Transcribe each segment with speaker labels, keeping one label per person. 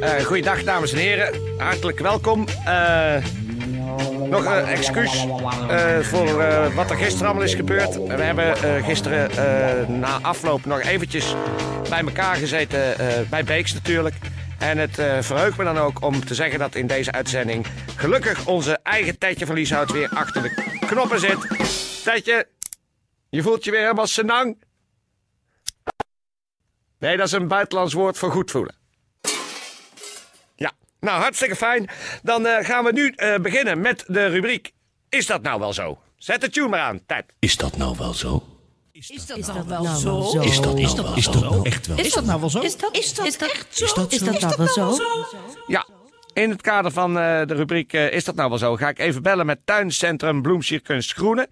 Speaker 1: Eh goeiedag, dames en heren. Hartelijk welkom. Eh, nog een excuus eh, voor eh, wat er gisteren allemaal is gebeurd. We hebben eh, gisteren eh, na afloop nog eventjes bij elkaar gezeten, eh, bij Beeks natuurlijk. En het eh, verheugt me dan ook om te zeggen dat in deze uitzending gelukkig onze eigen Tetje van Lieshout weer achter de knoppen zit. Tetje, je voelt je weer helemaal senang? Nee, dat is een buitenlands woord voor goed voelen. Ja, nou hartstikke fijn. Dan eh, gaan we nu eh, beginnen met de rubriek Is dat nou wel zo? Zet de tune maar aan, Ted.
Speaker 2: Is dat nou wel zo?
Speaker 3: Is dat, nou wel zo?
Speaker 2: Is dat nou wel zo? Echt wel.
Speaker 3: Is dat nou wel zo? Is dat, is dat, echt zo? Is dat, nou wel zo?
Speaker 1: Ja, in het kader van eh, de rubriek eh, Is dat nou wel zo? Ga ik even bellen met tuincentrum Bloemsierkunst Groene.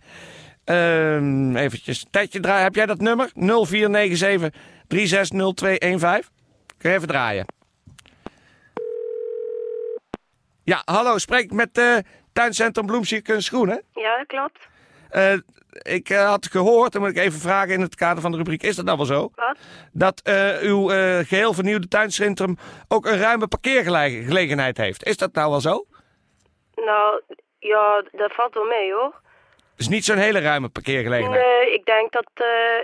Speaker 1: Ehm eventjes een tijdje draaien. Heb jij dat nummer? 0497 360215. Kun je even draaien. Ja, hallo, spreek ik met eh, tuincentrum Bloemsierkunst Groene.
Speaker 4: Ja, dat klopt.
Speaker 1: Eh, ik eh, had gehoord, dan moet ik even vragen in het kader van de rubriek: is dat nou wel zo?
Speaker 4: Wat?
Speaker 1: Dat eh, uw eh, geheel vernieuwde tuincentrum ook een ruime parkeergelegenheid heeft. Is dat nou wel zo?
Speaker 4: Nou, ja, dat valt wel mee hoor.
Speaker 1: Het is niet zo'n hele ruime parkeergelegenheid.
Speaker 4: Nee, ik denk dat, eh,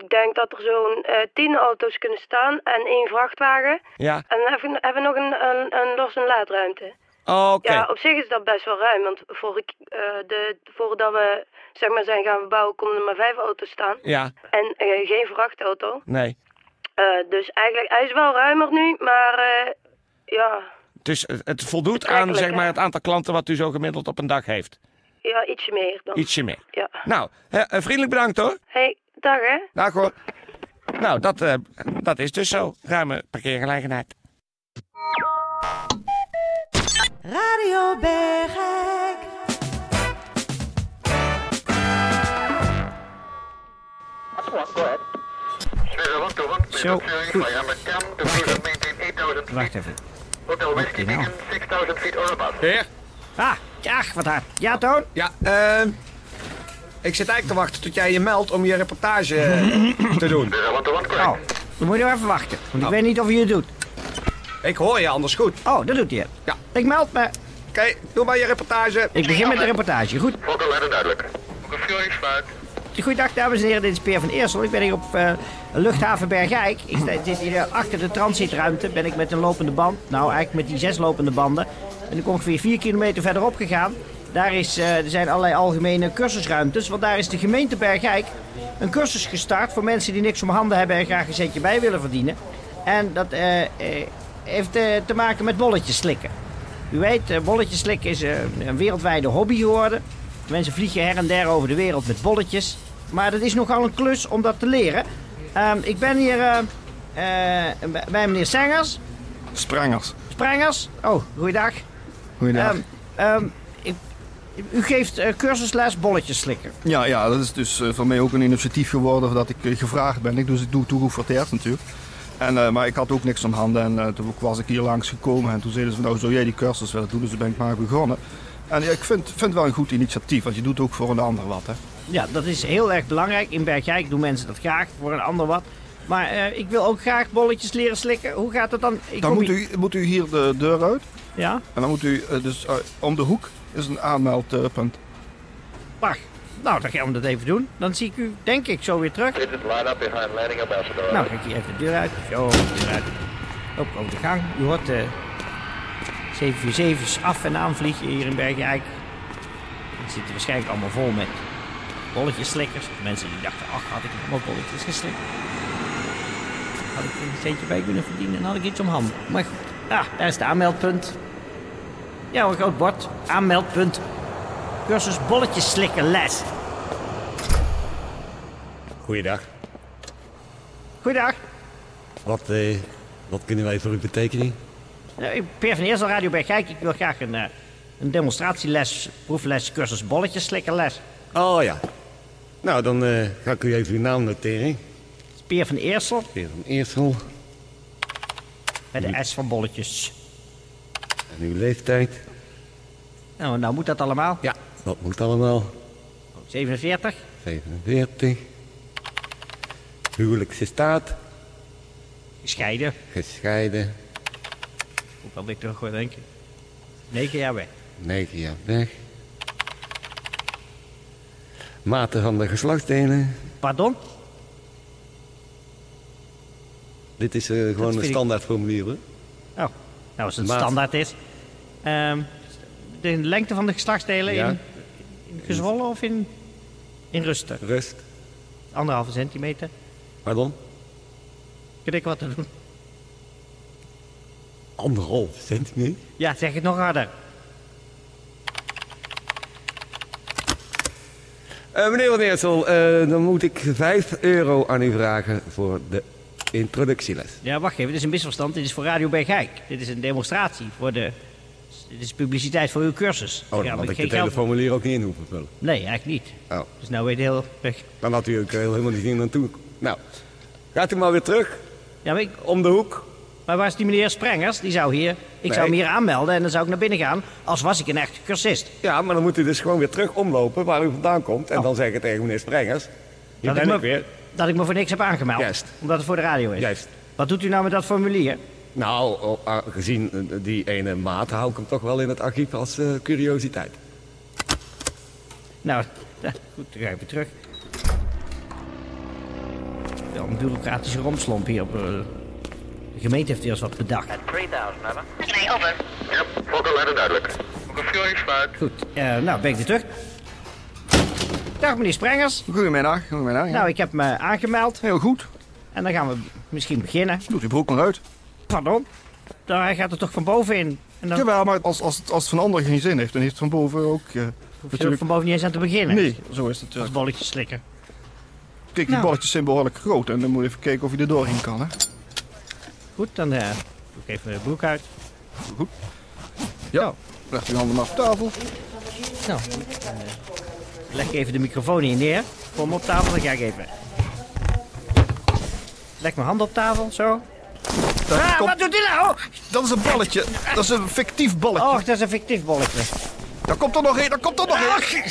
Speaker 4: ik denk dat er zo'n eh tien auto's kunnen staan en één vrachtwagen.
Speaker 1: Ja,
Speaker 4: En dan hebben we- hebben we nog een, een, een los- en laadruimte.
Speaker 1: oké.
Speaker 4: Ja, op zich is dat best wel ruim, want voor ik, eh, de, voordat we zeg maar, zijn gaan bouwen, konden er maar vijf auto's staan.
Speaker 1: Ja,
Speaker 4: En eh, geen vrachtauto.
Speaker 1: nee.
Speaker 4: Eh, dus eigenlijk, hij is wel ruimer nu, maar eh, ja,
Speaker 1: Dus het- het voldoet aan
Speaker 4: Betrekkelijk,
Speaker 1: zeg maar,
Speaker 4: hè?
Speaker 1: het aantal klanten wat u zo gemiddeld op een dag heeft.
Speaker 4: ja, ietsje meer dan.
Speaker 1: Ietsje meer.
Speaker 4: Ja.
Speaker 1: Nou, eh, eh, vriendelijk bedankt hoor.
Speaker 4: Hey, dag hè.
Speaker 1: Dag hoor. Nou, dat, eh, dat is dus zo. Ruime parkeergelegenheid.
Speaker 3: Radio Bergijk.
Speaker 1: Zo, goed.
Speaker 5: Wacht even. Wacht even.
Speaker 1: Heer?
Speaker 5: Ah, ach, wat hard. Ja, Toon?
Speaker 1: Ja, ehm. ik zit eigenlijk te wachten tot jij je meldt om je reportage eh, te doen.
Speaker 5: Oh, dan moet je nog even wachten, want ik weet niet of je het doet.
Speaker 1: Ik hoor je anders goed.
Speaker 5: Oh, dat doet hij.
Speaker 1: Ja.
Speaker 5: Ik meld me.
Speaker 1: Oké, doe maar je reportage.
Speaker 5: Ik begin met de reportage. Goed.
Speaker 6: Ook luid en duidelijk.
Speaker 5: Goeiedag, dames en heren. Dit is Peer van Eersel. Ik ben hier op eh, luchthaven Bergijk. Ik sta, dit is hier eh, achter de transitruimte. Ben ik met een lopende band. Nou, eigenlijk met die zes lopende banden. Ben ik ongeveer vier kilometer verderop gegaan. Daar is, eh, er zijn allerlei algemene cursusruimtes. Want daar is de gemeente Bergijk een cursus gestart voor mensen die niks om handen hebben en graag een zetje bij willen verdienen. En dat eh, eh, heeft eh, te maken met bolletjes slikken. U weet, eh, bolletjes slikken is eh, een wereldwijde hobby geworden. Mensen vliegen her en der over de wereld met bolletjes. Maar dat is nogal een klus om dat te leren. Ehm, ik ben hier eh, eh, bij- bij meneer Sengers.
Speaker 7: Sprangers.
Speaker 5: Sprengers. Oh, goeiedag.
Speaker 7: Goedendag.
Speaker 5: Ehm, ehm, ik- u geeft eh, cursusles bolletjes slikken.
Speaker 7: ja, ja, dat is dus eh, voor mij ook een initiatief geworden dat ik eh, gevraagd ben. Ik, dus ik doe toegeverteerd natuurlijk. En, eh, maar ik had ook niks om handen en eh, toen was ik hier langs gekomen en toen zeiden ze van, nou zou jij die cursus willen doen, dus toen ben ik maar begonnen. En ja, ik vind het wel een goed initiatief, want je doet ook voor een ander wat. Hè?
Speaker 5: Ja, dat is heel erg belangrijk. In Bergijk doen mensen dat graag voor een ander wat. Maar eh, ik wil ook graag bolletjes leren slikken. Hoe gaat dat dan? Ik
Speaker 7: Dan
Speaker 5: kom
Speaker 7: moet
Speaker 5: hier-
Speaker 7: u, moet u hier de deur uit
Speaker 5: Ja,
Speaker 7: en dan moet u, eh, dus eh, om de hoek is een aanmeldpunt.
Speaker 5: wacht. Nou, dan gaan we dat even doen. Dan zie ik u, denk ik, zo weer terug.
Speaker 6: Dit is line up behind landing ambassador.
Speaker 5: Nou, ga ik hier even de deur uit. Zo, de deur uit. Loop ik over de gang. U hoort eh, de 747's af en aan vliegen hier in Bergijk. Het zit er waarschijnlijk allemaal vol met bolletjeslikkers. Mensen die dachten, ach, had ik allemaal bolletjes geslikt. Had ik er een centje bij kunnen verdienen en had ik iets om handen. Maar goed, ah, daar is het aanmeldpunt. Ja, een groot bord. Aanmeldpunt. Cursus bolletjes slikken les.
Speaker 1: Goeiedag.
Speaker 5: Goeiedag.
Speaker 1: Wat eh,
Speaker 2: Wat kunnen wij voor u betekenen?
Speaker 5: Nou, ik- Peer van Eersel, Radio Bergijk. Ik wil graag een, eh, een demonstratieles, proefles, cursus, bolletjes, slikkerles.
Speaker 2: Oh ja. Nou, dan eh, ga ik u even uw naam noteren.
Speaker 5: Peer van Eersel,
Speaker 2: Peer van Eersel.
Speaker 5: met de S van bolletjes.
Speaker 2: En uw leeftijd.
Speaker 5: Nou, nou moet dat allemaal.
Speaker 2: Ja, dat moet allemaal.
Speaker 5: 47,
Speaker 2: 47. Huwelijkse staat.
Speaker 5: gescheiden.
Speaker 2: Gescheiden.
Speaker 5: Moet wel ik terug hoor, denk ik. 9 jaar weg.
Speaker 2: 9 jaar weg. Mate van de geslachtsdelen.
Speaker 5: Pardon? Oh,
Speaker 2: Dit is eh,
Speaker 5: Dat
Speaker 2: gewoon een
Speaker 5: vind ik-
Speaker 2: standaardformulier hoor.
Speaker 5: Oh, nou als het
Speaker 2: Maat.
Speaker 5: standaard is. Ehm, de lengte van de geslachtsdelen
Speaker 2: Ja.
Speaker 5: in, in gezwollen of in, in rusten?
Speaker 2: Rust.
Speaker 5: Anderhalve centimeter.
Speaker 2: Pardon?
Speaker 5: Kun ik wat te doen?
Speaker 2: Anderhalf centimeter.
Speaker 5: Ja, zeg het nog harder.
Speaker 2: Eh, meneer Van Eersel, eh, dan moet ik 5 euro aan u vragen voor de introductieles.
Speaker 5: Ja, wacht even, dit is een misverstand. Dit is voor Radio Bergijk. Dit is een demonstratie voor de... Dit is publiciteit voor uw cursus.
Speaker 2: Oh,
Speaker 5: Ja,
Speaker 2: dan had
Speaker 5: maar
Speaker 2: ik
Speaker 5: geen
Speaker 2: het
Speaker 5: geld-
Speaker 2: hele formulier ook niet in hoeven vullen.
Speaker 5: Nee, eigenlijk niet.
Speaker 2: Oh.
Speaker 5: Dus nou weet heel...
Speaker 2: Dan had u ook eh, helemaal niet hier naartoe. Nou, gaat u maar weer terug,
Speaker 5: Ja, maar, ik-
Speaker 2: om de hoek.
Speaker 5: maar waar is die meneer Sprengers? Die zou hier... Ik zou hem hier aanmelden en dan zou ik naar binnen gaan. Als was ik een echt cursist.
Speaker 2: Ja, maar dan moet u dus gewoon weer terug omlopen waar u vandaan komt. En
Speaker 5: Oh.
Speaker 2: dan zeggen tegen meneer Sprengers, hier
Speaker 5: ik
Speaker 2: ben ik
Speaker 5: me,
Speaker 2: weer.
Speaker 5: dat ik me voor niks heb aangemeld.
Speaker 2: Juist.
Speaker 5: Omdat het voor de radio is.
Speaker 2: Juist.
Speaker 5: Wat doet u nou met dat formulier?
Speaker 2: Nou, o- aangezien eh, die ene maat hou ik hem toch wel in het archief als eh, curiositeit.
Speaker 5: Nou, goed, dan ga ik weer terug. Wel een bureaucratische romslomp hier op... eh, de gemeente heeft eerst wat bedacht.
Speaker 8: 3000 hebben.
Speaker 6: Yep, Fokker luid en duidelijk. Verkeeringsfluit.
Speaker 5: Goed, eh, nou ben ik weer terug. Dag meneer Sprengers.
Speaker 7: Goedemiddag, goedemiddag. ja.
Speaker 5: Nou, ik heb me aangemeld
Speaker 7: Heel goed.
Speaker 5: en dan gaan we misschien beginnen.
Speaker 7: Doet uw broek maar uit.
Speaker 5: Pardon? Dan hij gaat er toch van bovenin. En dan
Speaker 7: Jawel, maar als, als, het- als het van anderen geen zin heeft, dan heeft het van boven ook... eh,
Speaker 5: hoef je er
Speaker 7: natuurlijk...
Speaker 5: van boven niet eens aan te beginnen.
Speaker 7: Nee, zo is het. ja.
Speaker 5: Als bolletje slikken.
Speaker 7: Kijk, die
Speaker 5: eh. Nou.
Speaker 7: balletjes zijn behoorlijk groot en dan moet je even kijken of je er doorheen kan. Hè?
Speaker 5: Goed, dan eh, doe ik even mijn broek uit.
Speaker 7: Ja. Leg je Nou, handen maar op tafel.
Speaker 5: Nou, goed, dan, eh, leg ik even de microfoon hier neer. Kom op tafel, dan ga ik even. Leg mijn hand op tafel, zo.
Speaker 7: Daar
Speaker 5: Ah,
Speaker 7: komt-
Speaker 5: wat doet u nou? Oh.
Speaker 7: Dat is een balletje. Dat is een fictief balletje.
Speaker 5: Och, dat is een fictief bolletje.
Speaker 7: Daar komt er nog één, daar komt er nog
Speaker 5: Ah,
Speaker 7: één.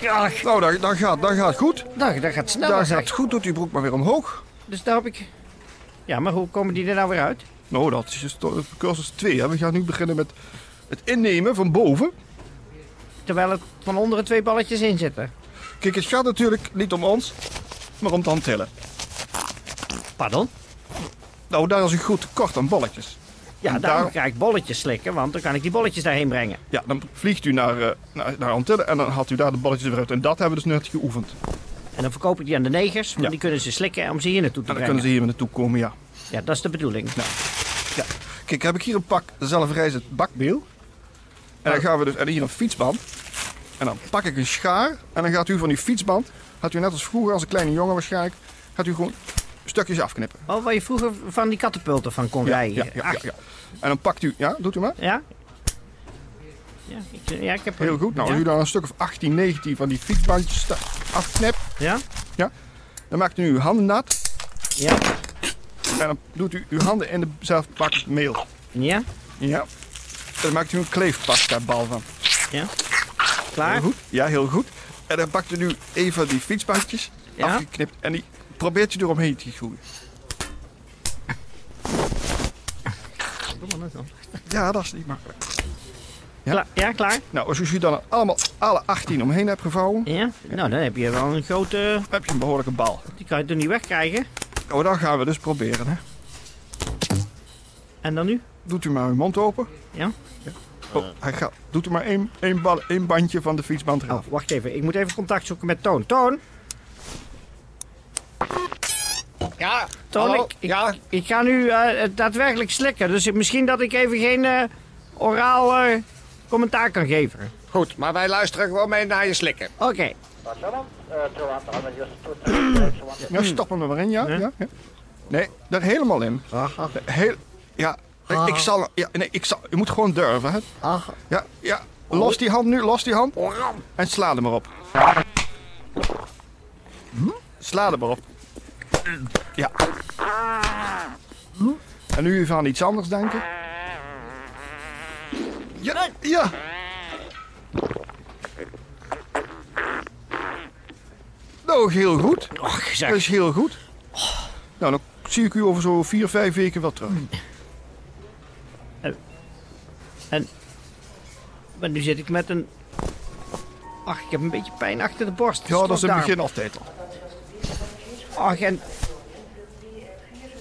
Speaker 7: Ja. Nou, daar, daar, gaat, daar gaat goed.
Speaker 5: Nou, dat gaat snel.
Speaker 7: daar gaat het goed, doet die broek maar weer omhoog.
Speaker 5: Dus daar heb ik... Ja, maar hoe komen die er nou weer uit?
Speaker 7: Nou, dat is dus to- cursus 2. Hè. We gaan nu beginnen met het innemen van boven.
Speaker 5: Terwijl het van onderen twee balletjes in zitten.
Speaker 7: Kijk, het gaat natuurlijk niet om ons, maar om het handtillen.
Speaker 5: Pardon?
Speaker 7: Nou, daar is een goed tekort aan balletjes.
Speaker 5: Ja,
Speaker 7: En
Speaker 5: daarom
Speaker 7: daar-
Speaker 5: ga ik bolletjes slikken, want dan kan ik die bolletjes daarheen brengen.
Speaker 7: Ja, dan vliegt u naar, eh, naar, naar Antillen en dan haalt u daar de balletjes weer uit. En dat hebben we dus net geoefend. En
Speaker 5: En dan verkoop ik die aan de negers, want
Speaker 7: Ja.
Speaker 5: die kunnen ze slikken om ze hier naartoe te
Speaker 7: dan
Speaker 5: brengen.
Speaker 7: kunnen ze hier weer naartoe komen, ja.
Speaker 5: Ja, dat is de bedoeling.
Speaker 7: ja. Kijk, heb ik hier een pak zelfrijzend bakmeel. En dan gaan we dus, en hier een fietsband. En dan pak ik een schaar en dan gaat u van die fietsband, gaat u net als vroeger, als een kleine jongen waarschijnlijk, gaat u gewoon stukjes afknippen.
Speaker 5: Oh, waar je vroeger van die katapulten van kon
Speaker 7: Ja,
Speaker 5: rijden.
Speaker 7: ja, ja, ja,
Speaker 5: Ach,
Speaker 7: ja. En dan pakt u, ja, doet u maar.
Speaker 5: ja? Ja, ik, ja, ik heb...
Speaker 7: Heel goed. Nou,
Speaker 5: ja?
Speaker 7: als u daar een stuk of 18, 19 van die fietsbandjes sta- afknipt,
Speaker 5: Ja?
Speaker 7: dan maakt u uw handen nat.
Speaker 5: Ja?
Speaker 7: En dan doet u uw handen in de zelf pak meel.
Speaker 5: Ja?
Speaker 7: Ja. En dan maakt u een kleefpasta bal van.
Speaker 5: Ja? Klaar?
Speaker 7: Heel goed. Ja, heel goed. En dan pakt u nu een van die fietsbandjes,
Speaker 5: Ja.
Speaker 7: afgeknipt, en die probeert u eromheen te groeien. Ja, dat is niet makkelijk. Ja.
Speaker 5: Klaar- Ja, klaar?
Speaker 7: Nou, als u ze dan allemaal alle 18 omheen hebt gevouwen,
Speaker 5: Ja? Nou, dan heb je wel een grote...
Speaker 7: dan heb je een behoorlijke bal.
Speaker 5: Die kan je toch niet wegkrijgen?
Speaker 7: Nou, dat gaan we dus proberen, hè.
Speaker 5: En dan nu?
Speaker 7: Doet u maar uw mond open.
Speaker 5: Ja?
Speaker 7: Oh, hij gaat. Doet u maar één, één, bal, één bandje van de fietsband eraf.
Speaker 5: Oh, wacht even. Ik moet even contact zoeken met Toon. Toon?
Speaker 1: Ja,
Speaker 5: Toon,
Speaker 1: hallo?
Speaker 5: ik, ik,
Speaker 1: ja,
Speaker 5: ik ga nu eh, het daadwerkelijk slikken. Dus misschien dat ik even geen eh, oraal eh, commentaar kan geven.
Speaker 1: goed. Maar wij luisteren gewoon mee naar je slikken.
Speaker 5: Oké.
Speaker 7: Nou, Ja, stap hem er maar in, ja. ja. ja. Nee, daar helemaal in. Heel, ja, ik- ik zal, ja, nee, ik zal, je moet gewoon durven. Hè. Ja, ja, los die hand nu, los die hand. En sla er maar op. Hm? Sla er maar op. Ja. Hm? En nu even aan iets anders denken. Ja, ja. Nou, heel goed.
Speaker 5: zeg.
Speaker 7: Dat is heel goed. Nou, dan zie ik u over zo'n vier, vijf weken wel terug.
Speaker 5: Maar nu zit ik met een... Ach, ik heb een beetje pijn achter de borst.
Speaker 7: Ja, dat is in het
Speaker 5: Stopdarm.
Speaker 7: begin altijd al.
Speaker 5: Ach, en...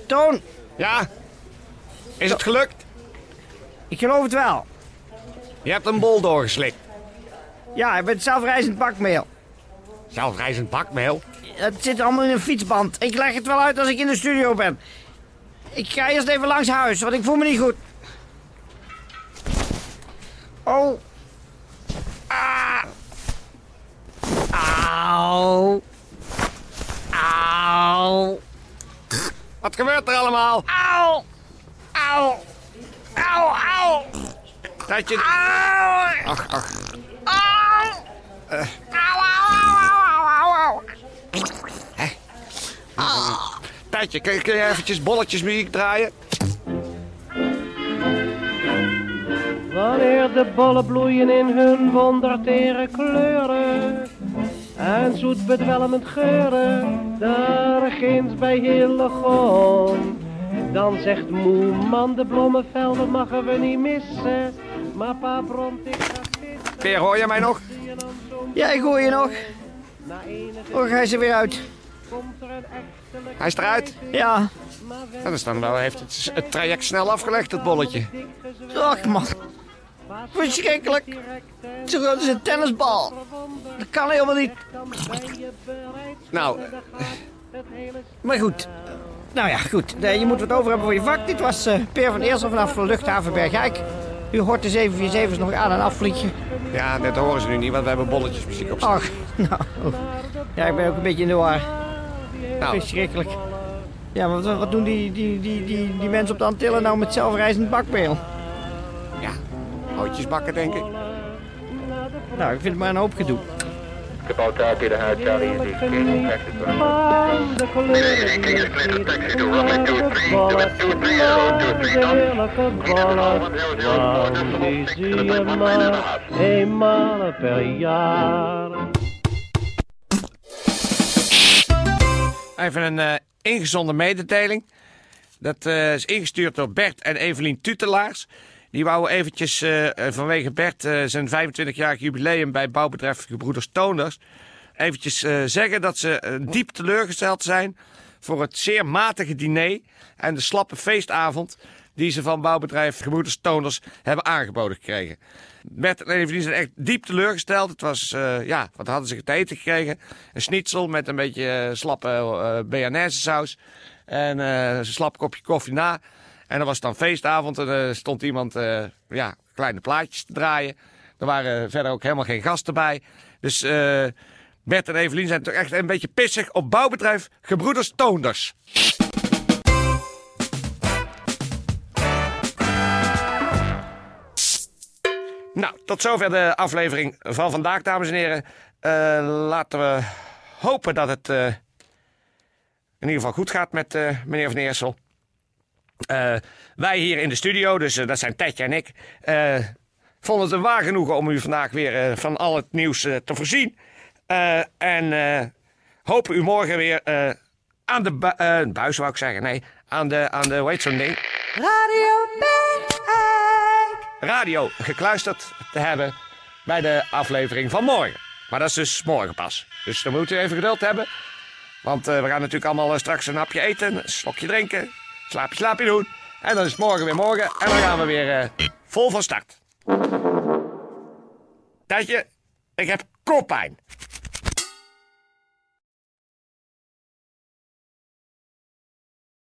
Speaker 5: Toon,
Speaker 1: Ja? Is het gelukt?
Speaker 5: ik geloof het wel.
Speaker 1: Je hebt een bol doorgeslikt.
Speaker 5: Ja, ik ben zelfreizend bakmeel.
Speaker 1: Zelfreizend bakmeel.
Speaker 5: Het zit allemaal in een fietsband. Ik leg het wel uit als ik in de studio ben. Ik ga eerst even langs huis, want ik voel me niet goed. Oh. Ah. Auw. Auw.
Speaker 1: Wat gebeurt er allemaal?
Speaker 5: Auw. Auw. Auw, auw.
Speaker 1: Dat je...
Speaker 5: Auw.
Speaker 1: Ach, ach. Eh.
Speaker 5: Auw. Auw, auw, auw, auw, auw.
Speaker 1: Tijdje, kun, kun je eventjes bolletjes muziek draaien?
Speaker 8: Wanneer de bollen bloeien in hun wondertere kleuren en zoet bedwelmend geuren, daar ginds bij Hillegom. Dan zegt moe man, de bloemenvelden mogen we niet missen, maar pa bromt, ik ga vissen.
Speaker 1: Peer, hoor je mij nog?
Speaker 5: Ja, ik hoor je nog.
Speaker 8: Na enige
Speaker 5: Oh, hij is er weer uit.
Speaker 8: komt er een echtelijke
Speaker 1: Hij is eruit.
Speaker 5: Ja.
Speaker 1: Ja, dat is dan wel, hij heeft het, het traject snel afgelegd, dat bolletje.
Speaker 5: Ach, man. Verschrikkelijk. Zo groot als een tennisbal. Dat kan helemaal niet.
Speaker 1: Nou,
Speaker 5: Maar goed. Nou ja, goed. Eh, Je moet wat over hebben voor je vak. Dit was eh Peer van Eersel vanaf de luchthaven Bergijk. U hoort de 747's nog aan en afvliegen.
Speaker 1: ja, dat horen ze nu niet, want we hebben bolletjes muziek op. staan.
Speaker 5: Ach, nou. Ja, ik ben ook een beetje in de war.
Speaker 1: nou,
Speaker 5: Verschrikkelijk. Ja, maar wat, wat doen die, die, die, die, die mensen op de Antillen nou met zelfreizend bakmeel?
Speaker 1: ja, houtjes bakken, denk ik.
Speaker 5: Nou, ik vind het maar een hoop gedoe.
Speaker 6: About that, did I Charlie? Is he Texas?
Speaker 8: van de kleuren
Speaker 6: King is clear to taxi to runway
Speaker 8: heerlijke
Speaker 6: 23,
Speaker 8: bollen,
Speaker 6: two three zero two three.
Speaker 8: de heerlijke bollen.
Speaker 6: Down.
Speaker 8: Die
Speaker 6: Easy,
Speaker 8: zie je maar eenmaal per jaar.
Speaker 1: Even een eh, ingezonde mededeling. Dat eh, is ingestuurd door Bert en Evelien Tutelaars. Die wouden eventjes eh, vanwege Bert eh, zijn 25-jarig jubileum bij bouwbedrijf Gebroeders Toners... eventjes eh, zeggen dat ze eh, diep teleurgesteld zijn voor het zeer matige diner... en de slappe feestavond die ze van bouwbedrijf Gebroeders Toners hebben aangeboden gekregen. Bert en Evelien zijn echt diep teleurgesteld. Het was, eh, ja, wat hadden ze te eten gekregen? Een schnitzel met een beetje eh, slappe eh bearnaise saus. En eh, een slap kopje koffie na. En dan was het dan feestavond en er stond iemand eh, ja, kleine plaatjes te draaien. Er waren verder ook helemaal geen gasten bij. Dus eh, Bert en Evelien zijn toch echt een beetje pissig op bouwbedrijf Gebroeders Toonders. Nou, tot zover de aflevering van vandaag, dames en heren. Eh, laten we hopen dat het eh, in ieder geval goed gaat met eh, meneer Van Eersel. Eh, wij hier in de studio, dus eh, dat zijn Tetje en ik, eh, vonden het een waar genoegen om u vandaag weer eh, van al het nieuws eh, te voorzien. Eh, en eh, hopen u morgen weer eh, aan de bu- eh, buis, wou ik zeggen. Nee, aan de, aan de hoe heet zo'n ding?
Speaker 3: Radio Bergijk.
Speaker 1: radio gekluisterd te hebben bij de aflevering van morgen. Maar dat is dus morgen pas. Dus dan moet u even geduld hebben. Want eh, we gaan natuurlijk allemaal eh, straks een hapje eten, een slokje drinken, slaapje slaapje doen. En dan is het morgen weer morgen en dan gaan we weer eh, vol van start. Tijdje, ik heb koppijn.